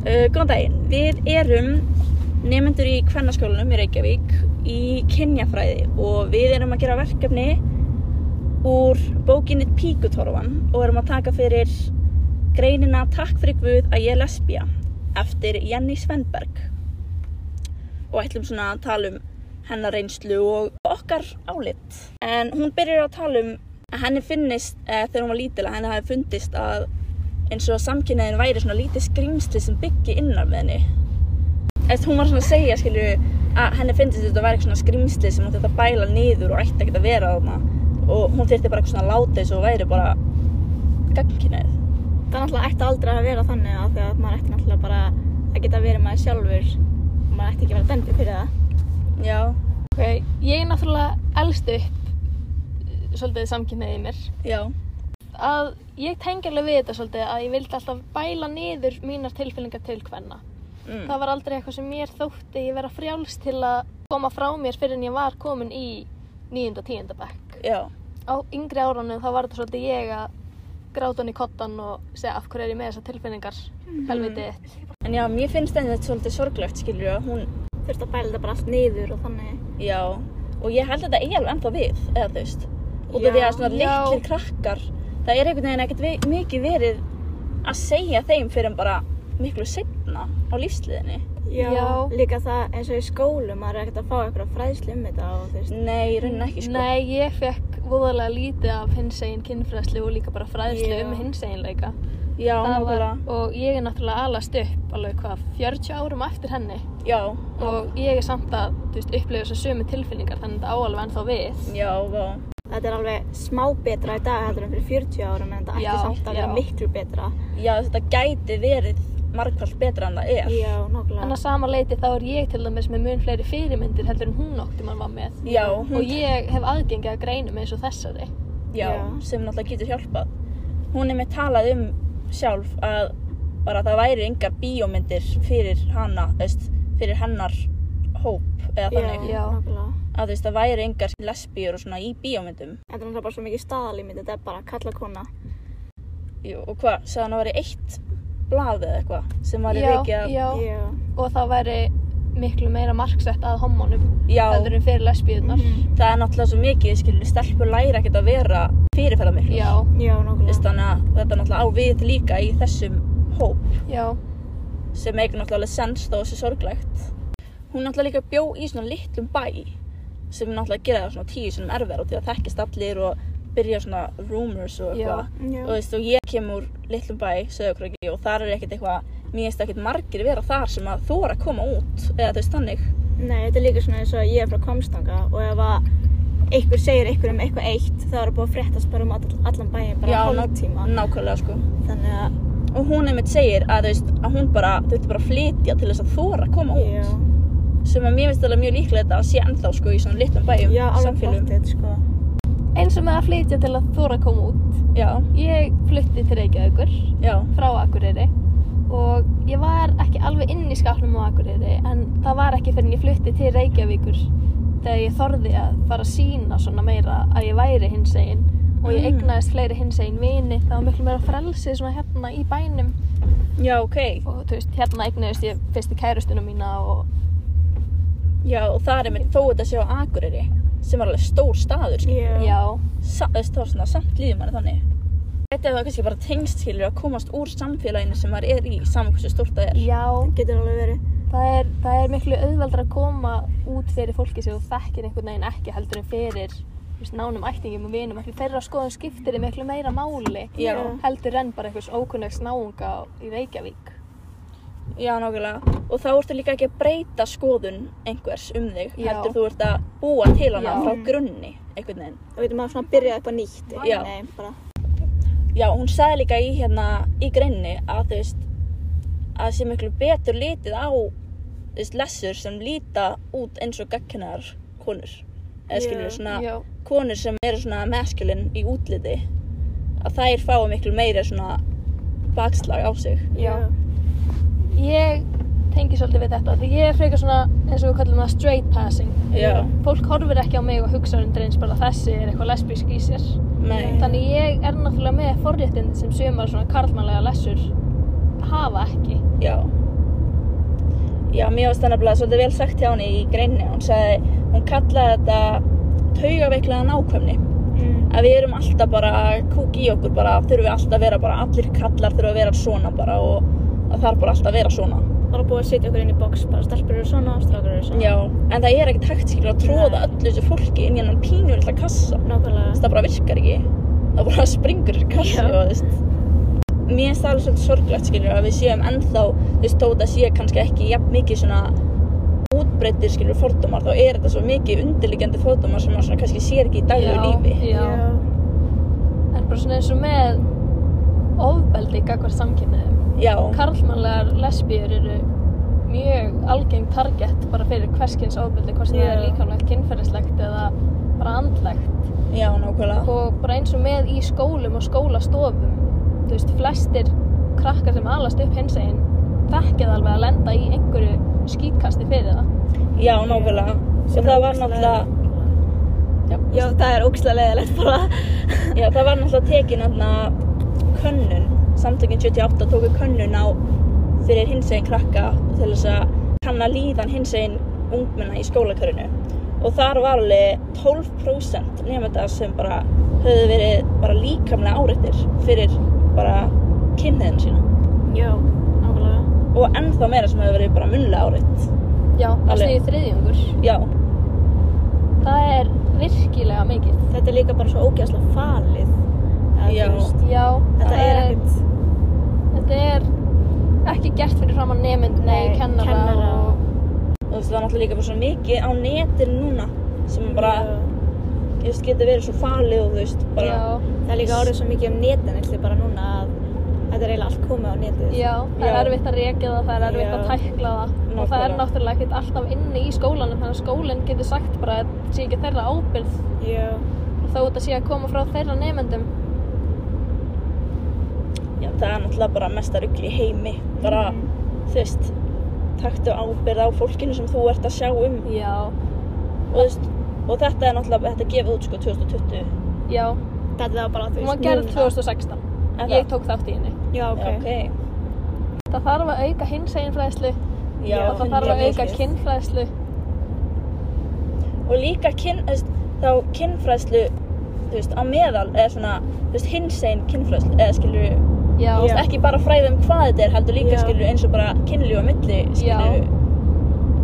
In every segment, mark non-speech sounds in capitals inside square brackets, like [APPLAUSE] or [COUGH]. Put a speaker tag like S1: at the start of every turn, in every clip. S1: Uh, góðan daginn, við erum nemyndur í kvennaskólanum í Reykjavík í kynjafræði og við erum að gera verkefni úr bókinni Píkutorfan og erum að taka fyrir greinina Takk fyrir Guð að ég er lesbía eftir Jenny Svenberg og ætlum svona að tala um hennar reynslu og okkar álit en hún byrjar að tala um að henni finnist eh, þegar hún var lítil að henni hafi fundist að eins og samkynniðin væri svona lítið skrýmsli sem byggi innan með henni Eftir hún var svona að segja skilju að henni finnst þetta að vera eitthvað svona skrýmsli sem hún þurfti að bæla niður og ætti ekkert að vera þarna og hún þurfti bara eitthvað svona að láta þessu og væri bara gagnkynniðið
S2: Það er náttúrulega ætti aldrei að vera þannig að því að maður ætti náttúrulega bara að geta verið maður sjálfur og maður ætti ekki að vera dæmdur fyrir það.
S1: Já,
S3: Ok, ég er náttúrulega elst upp eh, svolítið samkynniðið í mér.
S1: já,
S3: Að ég tengi alveg við þetta svolítið að ég vildi alltaf bæla niður mínar tilfinningar til hvenna.
S1: mm.
S3: Það var aldrei eitthvað sem mér þótti ég vera frjáls til að koma frá mér fyrir en ég var komin í 9. og 10. bekk.
S1: já,
S3: Á yngri árunum þá var þetta svolítið ég að gráta hann í kottan og segja af hverju er ég með þessar tilfinningar,
S1: Mhm.
S3: helviti þitt.
S1: en já, mér finnst þetta svolítið sorglegt skilju að hún,
S2: Þurfti að bæla þetta bara allt niður og þannig.
S1: já og ég held að þetta eigi alveg ennþá við, eða þú veist út
S2: Já.
S1: af því að svona
S3: Já.
S1: litlir krakkar það er einhvern veginn ekkert vi- mikið verið að segja þeim fyrir en bara miklu setna á lífsliðinni
S3: Já.
S2: Líka það eins og í skólu, maður er ekkert að fá eitthvað fræðslu um þetta og þú veist.
S1: Nei, í rauninni ekki sko.
S3: Nei, ég fekk voðalega lítið af hinsegin kynfræðslu og líka bara fræðslu
S2: Já.
S3: um hinseginleika.
S1: já,
S3: Það var,
S1: nákvæmlega.
S3: og ég er náttúrulega alast upp alveg hvað, 40 árum á eftir henni
S1: Já,
S3: og ég er samt að, þú veist, upplifa þessar sömu tilfinningar þannig að þetta á alveg ennþá við.
S1: já, vá.
S2: Þetta er alveg smá betra í dag heldur en fyrir 40 árum en þetta ætti
S3: Já,
S2: samt að vera
S3: já.
S2: miklu betra.
S1: Já, þetta gæti verið margfald betra en það er.
S2: Já,
S3: En að
S2: nokkulega.
S3: sama leiti þá er ég til dæmis með mun fleiri fyrirmyndir heldur en hún ótti mann var með.
S1: Já, hún,
S3: Og ég hef aðgengið að greinum eins og þessari.
S1: já,
S2: Já.
S1: sem náttúrulega getur hjálpað. Hún er með talað um sjálf að bara það væri engar bíómyndir fyrir hana, þú veist, fyrir hennar hóp eða þannig.
S2: Já,
S3: Já.
S2: nokkulega.
S1: Að þú veist, það væri engar lesbíur og svona í bíómyndum.
S2: Þetta er náttúrulega bara svo mikið staðalímynd, þetta er bara kalla kona.
S1: Jú, og hvað, sagði hann að væri eitt blað eða eitthvað sem var í
S3: Já,
S1: veiki að...
S3: já,
S2: Já.
S3: og það væri miklu meira marksett að homonum
S1: Já,
S3: heldur um- en fyrir lesbíðunar.
S2: Mhm.
S1: það er náttúrulega svo mikið, skilur, stelpur læra ekkert að vera fyrirferðar
S3: Já,
S2: Já,
S1: Þú veist,
S2: nokkulega.
S1: þannig að þetta náttúrulega á við líka í þessum hóp
S3: já,
S1: sem eigur náttúrulega alveg sens þó þessi sorglegt. Hún náttúrulega líka bjó í svona litlum bæ sem náttúrulega gera það svona tíu svona erfið og því að þekkist allir og byrja svona rumors og eitthvað.
S2: Já.
S1: Og þú veist, og ég kem úr litlum bæ, sögurkröki, og þar er ekkert eitthvað, mér finnst ekkert margir vera þar sem að þóra að koma út, eða þú veist, þannig.
S2: Nei, þetta er líka svona eins og ég er frá komstanga og ef að einhver segir einhver um eitthvað eitt þá er það búið að fréttast bara um all, allan bæin bara
S1: Já,
S2: hálftíma.
S1: Nákvæmlega, sko.
S2: Þannig að,
S1: Og hún einmitt segir að, þú veist, að hún bara, þau bara að flytja til þess að þóra að koma út.
S2: já,
S1: sem að mér finnst alveg mjög líklega þetta að sé ennþá sko í svona litlum bæjum
S2: já, alveg
S1: samfélögum.
S2: bóttið, sko.
S3: eins og með að flytja til að þóra að koma út.
S1: Já,
S3: Ég flutti til Reykjavíkur
S1: já,
S3: frá Akureyri og ég var ekki alveg inn í skapnum á Akureyri en það var ekki fyrir en ég flutti til Reykjavíkur þegar ég þorði að fara að sína svona meira að ég væri hins einn og ég
S1: Mm.
S3: eignaðist fleiri hins einn vini það var miklu meira frelsi svona hérna í bænum
S1: já, ok.
S3: og þú veist hérna eignaðist ég fyrstu kærustuna mína og
S1: Já, og það er einmitt þó þetta sé á Akureyri sem er alveg stór staður, skilur.
S2: Já.
S3: já,
S1: Sa- þú veist, þá er svona samt líður manni þannig. Þetta er þá kannski bara tengst, skilur, að komast úr samfélaginu sem maður er í, saman hversu stórt það er.
S3: já
S2: Getur alveg verið.
S3: það er, það er miklu auðveldra að koma út fyrir fólki sem þú þekkir einhvern veginn ekki heldur en fyrir þú veist, nánum ættingum og vinum ekki þeirra skoðum skiptir í miklu meira máli
S1: Já.
S3: heldur en bara einhvers ókunnags náunga í Reykjavík
S1: Já, nákvæmlega. Og þá ertu líka ekki að breyta skoðun einhvers um þig,
S3: Já.
S1: heldur þú ert að búa til hana
S3: Já.
S1: frá grunni, einhvern veginn.
S2: Þá getur maður svona að byrja upp á nýtt.
S1: Já.
S2: Nei, bara.
S1: Já, hún sagði líka í hérna í greinni að þú veist að það sé miklu betur litið á þú veist, lessur sem líta út eins og gagkennar konur eða
S2: Já,
S1: skilur svona
S3: já,
S1: konur sem eru svona masculine í útliti að þær fá miklu meira svona bakslag á sig
S3: já. ég tengi svolítið við þetta því ég er frekar svona eins og við kallum það straight passing
S1: Já,
S3: fólk horfir ekki á mig og hugsa undir eins bara þessi er eitthvað lesbísk í sér
S1: nei,
S3: þannig ég er náttúrulega með forréttindi sem sumar svona karlmannlega lessur hafa ekki
S1: já já, mér varst það nefnilega svolítið vel sagt hjá henni í greinni. Hún sagði, hún kallaði þetta taugaveiklaða nákvæmni.
S2: Mm.
S1: Að við erum alltaf bara kúk í okkur bara, þurfum við alltaf að vera bara, allir kallar þurfum að vera svona bara og það þarf bara alltaf að vera svona.
S2: Bara búið að setja okkur inn í box, bara stelpur eru svona og strákur eru svona.
S1: Já, en það er ekkert hægt skilur að tróða
S2: Nei.
S1: öllu þessu fólki inn í hennan pínu lilla kassa.
S2: Nákvæmlega.
S1: það bara virkar ekki það bara springur þessi kassi
S2: Já.
S1: og þú veist mér finnst það alveg svolítið sorglegt skilur að við séum ennþá þú veist þótt að sé kannski ekki jafn mikið svona útbreyttir skilur fordómar þá er þetta svo mikið undirliggjandi fordómar sem maður svona kannski sér ekki í daglegu lífi
S3: já. En bara svona eins og með ofbeldi gagvar samkynniðum.
S1: já,
S3: Karlmannlegar lesbíur eru mjög algeng target bara fyrir hverskins ofbeldi, hvort sem það er
S2: Já.
S3: líkamlegt, kynferðislegt eða bara andlegt.
S1: já, nákvæmlega
S3: Og bara eins og með í skólum og skólastofum. Þú veist, flestir krakkar sem alast upp hins einn þekkið alveg að lenda í einhverju skítkasti fyrir það.
S1: já, nákvæmlega og það var náttúrulega já,
S2: Já, það er ógslag leiðilegt bara.
S1: já, það var náttúrulega tekin þarna könnun samtökin 78 tóku könnun á fyrir hinsegin krakka til þess að kanna líðan hinsegin ungmenna í skólakörinu og þar var alveg 12% nefnda sem bara höfðu verið bara líkamlega áreittir fyrir bara kynniðin sína
S2: Já, nákvæmlega.
S1: og ennþá meira sem höfðu verið bara munlega áreitt
S3: Já, það
S1: Alveg.
S3: sniði þriðjungur.
S1: já,
S3: Það er virkilega mikið.
S2: Þetta er líka bara svo ógeðslega falið. Eða, þú
S1: Já.
S2: veist,
S3: Já,
S2: Þetta
S3: það
S2: er ekkert,
S3: Þetta er ekki gert fyrir fram að nefndu, nei,
S2: Nei,
S3: kennara,
S2: kennara.
S3: og...
S1: og þú veist það var náttúrulega líka bara svo mikið á netin núna sem bara,
S2: Já.
S1: þú veist, getur verið svo falið og þú veist, bara
S3: Já,
S2: Það er líka orðið svo mikið um netin, eitthvað bara núna að þetta er eiginlega allt komið á netið.
S3: já, það er
S1: Já.
S3: erfitt að rekja það, það er erfitt
S2: Já.
S3: að tækla það og það er
S1: Nákvæmlega.
S3: náttúrulega ekkert alltaf inni í skólanum þannig að skólinn getur sagt bara að þetta sé ekki þeirra ábyrgð
S2: Já.
S3: og þó þetta sé að koma frá þeirra nefndum
S1: Já, það er náttúrulega bara mesta rugl í heimi. Bara,
S2: Mm.
S1: þú veist, taktu ábyrð á fólkinu sem þú ert að sjá um.
S3: Já,
S1: Og, þú veist, og þetta er náttúrulega, þetta er gefið út sko 2020.
S3: já,
S2: Þetta var bara, þú
S3: hún
S2: veist,
S3: var gerð
S2: núna.
S3: 2016
S1: Er það?
S3: Ég tók þátt í henni
S2: Já, ok.
S1: Já, ok.
S3: Það þarf að auka hinseginfræðslu
S1: Já,
S2: Já,
S3: og það þarf að
S1: 100%.
S3: auka kynfræðslu
S1: Og líka kyn, þú veist, þá kynfræðslu, þú veist, á meðal, eða svona, þú veist, hinsegin kynfræðslu, eða skilur
S3: Já,
S1: þú veist,
S2: Já.
S1: ekki bara fræði um hvað þetta er, heldur líka
S2: Já.
S1: skilur eins og bara kynlíf og milli, skilur
S3: Já.
S1: við,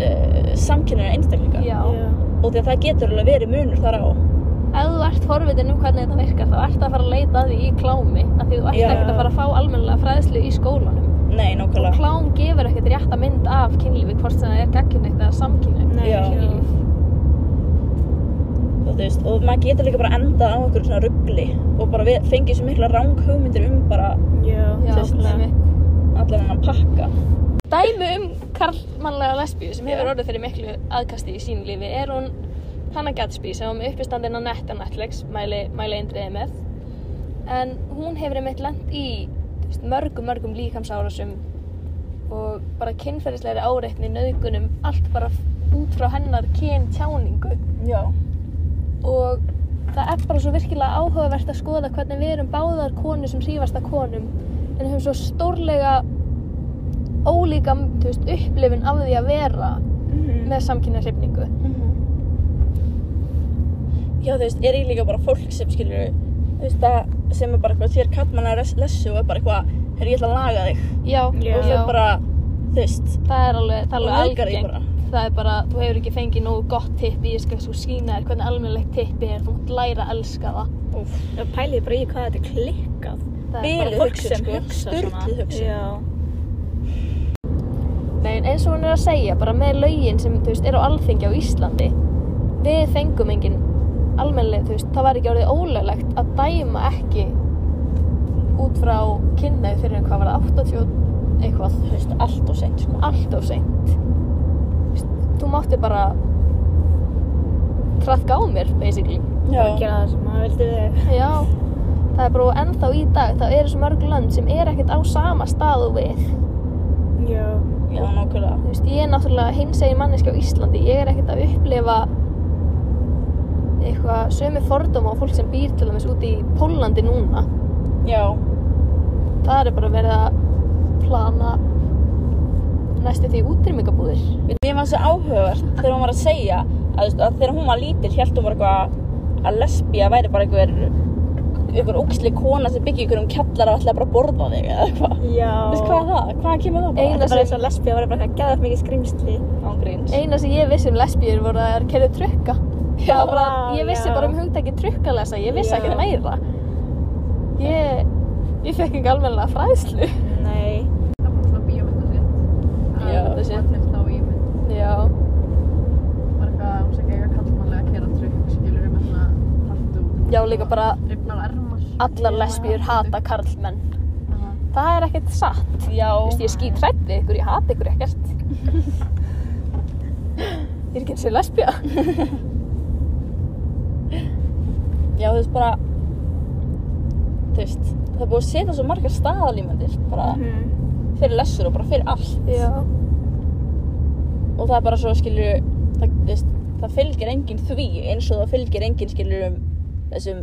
S1: uh, samkynnar einstaklinga.
S3: já.
S2: Já.
S1: Og því að það getur alveg verið munur þar á.
S3: ef þú ert forvitin um hvernig þetta virkar þá ert að fara að leita að því í klámi af því þú ert
S1: Já.
S3: ekkert að fara að fá almennilega fræðslu í skólanum
S1: Nei, nákvæmlega.
S3: klám gefur ekkert rétta mynd af kynlífi hvort sem það er gagkinnægt eða samkynni
S2: Nei,
S1: Já. og þú veist, og maður getur líka bara endað á einhverju svona ruggli og bara við, fengið svo mikla ráng hugmyndir um bara
S2: Já,
S3: Já,
S1: Þú veist.
S3: einmitt.
S1: allan hennan pakka
S3: dæmi um karlmannlega lesbíu sem hefur
S1: Já.
S3: orðið fyrir miklu aðkasti í sínu lífi er hún Hannah Gadsby sem var með uppistandinn á nett á Netflix, mæli, mæli eindriði með en hún hefur einmitt lent í þú veist, mörgum mörgum líkamsárasum og bara kynferðislegri áreitni nauðgunum, allt bara út frá hennar kyn tjáningu
S1: Já
S3: og það er bara svo virkilega áhugavert að skoða hvernig við erum báðar konur sem hrífast að konum en höfum svo stórlega ólíka þú veist, upplifun af því að vera
S2: Mhm.
S3: með samkynna hrifningu
S1: Já, þú veist, er ég líka bara fólk sem skilur þú veist, það sem er bara eitthvað þér kall manna lessu og er bara eitthvað herri, ég ætla að laga þig
S2: Já.
S3: já,
S1: og
S3: já.
S1: þau bara, þú veist
S3: það er alveg, það er
S1: og
S3: alveg
S1: helgar þig
S3: algengt
S1: bara
S3: það er bara, þú hefur ekki fengið nógu gott tippi ég skal svo sína þér hvernig almennilegt tippi er þú mátt læra að elska það
S1: Úf,
S2: Já, pælið bara í hvað þetta er klikkað.
S3: Það er
S1: Biluð
S2: Bara fólk
S1: hugsun,
S2: sem
S1: sko.
S2: hugsa svona.
S1: Sturluð hugsun.
S2: Já.
S3: Nei, en eins og hún er að segja, bara með lögin sem, þú veist, er á alþingi á Íslandi, við fengum engin almennileg, þú veist, það var ekki orðið ólöglegt að dæma ekki út frá kynneið fyrir en hvað var það, 80 og eitthvað,
S1: þú veist, allt og seint sko
S3: allt of seint. Þú veist, Þú mátti bara traðka á mér, basically.
S2: Bara gera það sem maður vildi við.
S3: Já, það er bara ennþá í dag, það eru svo mörg lönd sem er ekkert á sama staðu við.
S2: Já.
S1: já, nákvæmlega
S3: Þú veist, ég er náttúrulega hinsegin manneski á Íslandi, ég er ekkert að upplifa eitthvað sömu fordóma á fólk sem býr til dæmis úti í Pólandi núna.
S1: Já,
S3: Það er bara verið að plana næstu því útrýmingabúðir.
S1: Mér fannst það áhugavert þegar hún var að segja að, þú veist, að þegar hún var lítil held hún var eitthvað að lesbía væri bara einhver einhver óksli kona sem byggja einhverjum kjallar og ætlaði bara að borða þig eða eitthvað.
S2: Já.
S1: Þú veist hvað er það? Hvaðan kemur það bara?
S3: Eina
S2: Þetta er
S3: sem-
S2: bara eins og lesbí að vera bara eitthvað gæðað mikið skrýmsli.
S1: Ángríns.
S3: Eina sem ég vissi um lesbíur voru að það er kerðið trukka.
S1: Já.
S3: Það var bara, ég vissi
S2: Já.
S3: bara um hugtækið trukkalesa, ég vissi
S2: Já.
S3: ekkert meira. Ég, ég fekk ekki almennilega fræðslu.
S2: Nei.
S4: Það var svona bíómyndarsett.
S1: Já.
S4: Bíómyndarsett. Þá ég mynd
S3: Já,
S4: var eitthvað að hún segja eitthvað kallmannlega að kera trukk, skilur við með svona tattu.
S3: já líka bara
S4: Rifnar ermar.
S3: allar lesbíur hata karlmenn. Það er ekkert satt.
S1: Já.
S3: Þú veist, ég skýt hrætt við ykkur, ég hata ykkur ekkert. ég er ekki eins og lesbía.
S1: Já, þú veist bara, þú veist, það er búið að setja svo margar staðalímyndir bara
S2: Mhm.
S1: fyrir lessur og bara fyrir allt. Og það er bara svo, skilur, það, þú veist, það fylgir enginn því eins og það fylgir enginn, skilur, um þessum,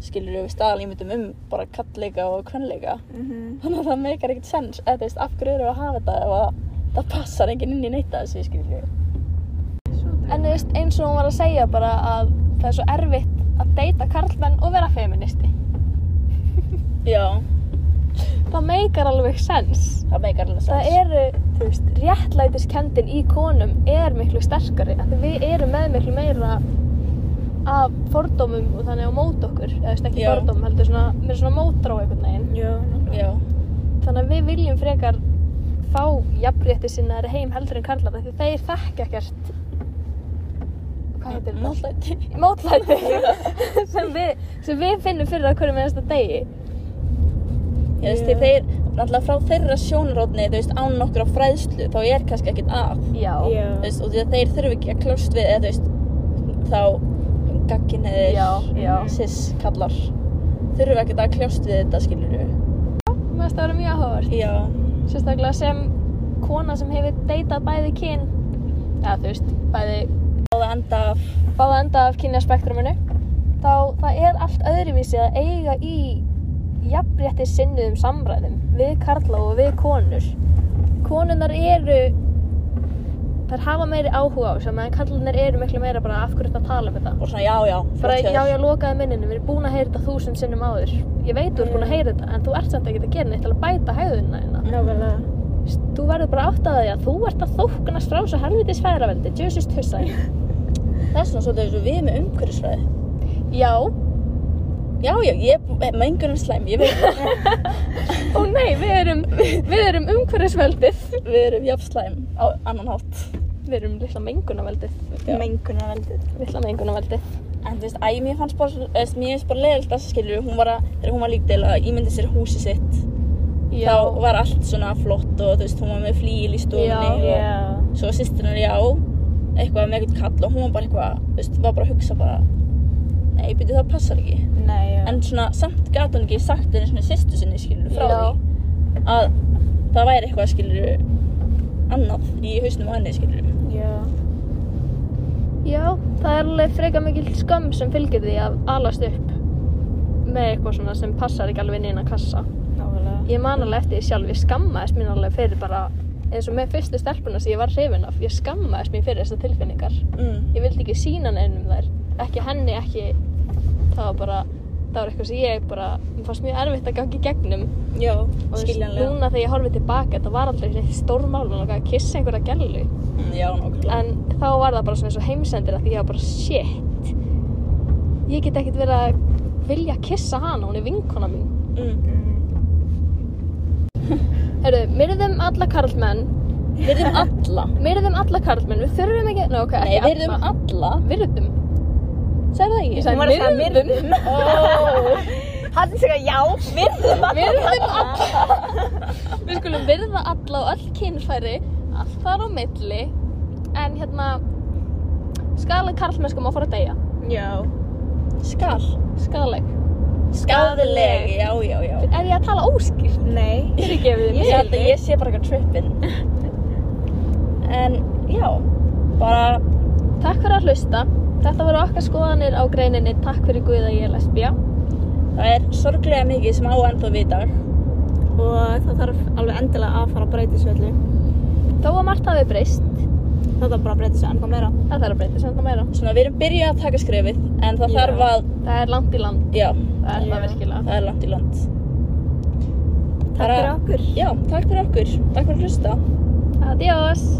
S1: skilur, um staðalímyndum um bara kallleika og kvennleika.
S2: Mhm.
S1: Þannig að það meikar ekkert sens, eða þú veist, af hverju eru að hafa þetta ef að það passar enginn inn í neitt að þessu, skilur.
S3: En þú veist, eins og hún var að segja bara að það er svo erfitt að deyta karlmenn og vera feministi.
S1: Já,
S3: Það meikar alveg sens.
S1: það meikar alveg sens.
S3: það eru, þú veist, réttlætiskendin í konum er miklu sterkari af því við erum með miklu meira af fordómum og þannig á mót okkur eða þú veist ekki
S1: Já.
S3: fordóm, heldur svona mér svona mótrá einhvern veginn
S2: Jú, nokkuð.
S1: Já,
S3: þannig að við viljum frekar fá jafnrétti sinna heim heldur en karlar af því þeir þekka ekkert hvað heitir þetta?
S1: náttúrulega.
S3: mótlæti [LAUGHS] sem, við, sem við finnum fyrir að hverju með þesta degi
S1: Ég veist, yeah. þeir, náttúrulega frá þeirra sjónarótni, þú veist, án nokkur á fræðslu, þá er kannski ekkert að,
S3: já,
S2: Já.
S1: þú veist, og því að þeir þurfi ekki að kljóst við, eða þú veist, þá
S3: já,
S1: gagginniðir,
S3: já.
S1: sis kallar, þurfi ekkert að kljóst við þetta, skilur við.
S3: mér finnst það að vera mjög áhugavert
S1: Já,
S3: sérstaklega sem kona sem hefur deytað bæði kyn eða þú veist, bæði
S1: báða enda af,
S3: báða enda af kynjaspektruminu þá það er allt öðruvísi að eiga í jafnrétti sinnuðum samræðum við karla og við konur konunnar eru þær hafa meiri áhuga á sem meðan karlunar eru miklu meira bara af hverju þetta tala um þetta
S1: og svona, já, já,
S3: bara
S1: flott hjá
S3: já
S1: þér.
S3: já lokaði minninu, við erum búin að heyra þetta þúsund sinnum áður ég veit þú ert búin að heyra þetta en þú ert samt ekki að gera neitt til að bæta hæðuna þína
S2: Nákvæmlega.
S3: Veist, Þú verður bara átt að því að þú ert að þóknast frá svo helvitis feðraveldi, Jesus tussar.
S1: Það er svona svolítið eins og við með umhverfisfræði.
S3: Já,
S1: Já, já, ég er mengunum slæm, ég veit
S3: [LAUGHS]
S1: það,
S3: ó nei, við erum, við erum umhverfisveldið.
S1: við erum jafn slæm á annan hátt.
S3: Við erum litla mengunaveldið,
S1: Já.
S2: Mengunarveldið.
S3: litla mengunaveldið.
S1: En þú veist, æ, mér fannst bara, þú veist, mér finnst bara leiðilegt að skilju, hún var að, þegar hún var líkdel að ímyndi sér húsi sitt
S3: Já,
S1: þá var allt svona flott og þú veist, hún var með flíl í stofunni
S3: Já,
S1: og
S2: Já.
S1: svo sýstin hennar já eitthvað með eitthvað kall og hún var bara eitthvað þú veist, var bara að hugsa bara nei, byrju það passar ekki
S2: Nei, já.
S1: en svona, samt gat hún ekki sagt henni svona sýstu sinni skilur frá
S3: Já.
S1: því að það væri eitthvað skilur annað í hausnum á henni skilur
S2: Já.
S3: já, það er alveg freka mikil skömm sem fylgir því að alast upp með eitthvað svona sem passar ekki alveg inn í innan kassa.
S2: Nákvæmlega.
S3: Ég man alveg eftir því sjálf, ég skammaðist mín alveg fyrir bara eins og með fyrstu stelpuna sem ég var hrifin af, ég skammaðist mín fyrir þessar tilfinningar.
S1: mm.
S3: ég vildi ekki sína neinum þær ekki henni, ekki það var bara, það var eitthvað sem ég bara mér fannst mjög erfitt að gangi gegnum
S1: já,
S3: og þú veist,
S1: skiljanlega
S3: núna þegar ég horfi tilbaka þetta var aldrei neitt stórmál og langaði að kissa einhverja gælu
S1: mm, já, nákvæmlega
S3: en þá var það bara svona eins og heimsendir af því ég var bara shit ég get ekkert verið að vilja kissa hana, hún er vinkona mín
S1: mm.
S2: Mm.
S3: Heyrðu, myrðum alla karlmenn
S1: virðum alla
S3: myrðum alla karlmenn, við þurfum ekki Ná, ok,
S1: nei,
S3: ekki
S1: virðum alla
S3: myrðum,
S1: segir það ekki?
S3: ég sagði
S2: Hún var að segja
S3: myrðum [LAUGHS]
S1: oh.
S2: Hann er svona, já, virðum að
S3: Virðum alla Við skulum virða alla og öll kynfæri Allt þar á milli En hérna Skaðleg karlmennsku má fara að deyja
S2: Já.
S1: skal
S3: Skaðleg
S1: skaðleg, já, já, já
S3: Er ég að tala óskýrt?
S2: Nei.
S3: Fyrirgefið
S1: Ég held
S3: mér
S1: að ég sé bara eitthvað trippin En já Bara
S3: Takk fyrir að hlusta Þetta voru okkar skoðanir á greininni Takk fyrir Guð að ég er lesbía
S1: það er sorglega mikið sem á ennþá við í dag
S2: Og það þarf alveg endilega að fara að breyta þessu öllu.
S3: Það þó að margt hafi breyst,
S2: Þetta bara að breyta sig ennþá meira.
S3: það þarf að breyta sem þetta meira.
S1: Svona við erum byrjað að taka skrefið en það
S2: Já.
S1: þarf að,
S3: Það er langt í land,
S1: já,
S3: það er
S2: Já.
S3: það virkilega.
S1: það er langt í land.
S2: Takk
S1: Bara-
S2: fyrir okkur.
S1: Já, takk fyrir okkur, takk fyrir að hlusta.
S3: Adiós!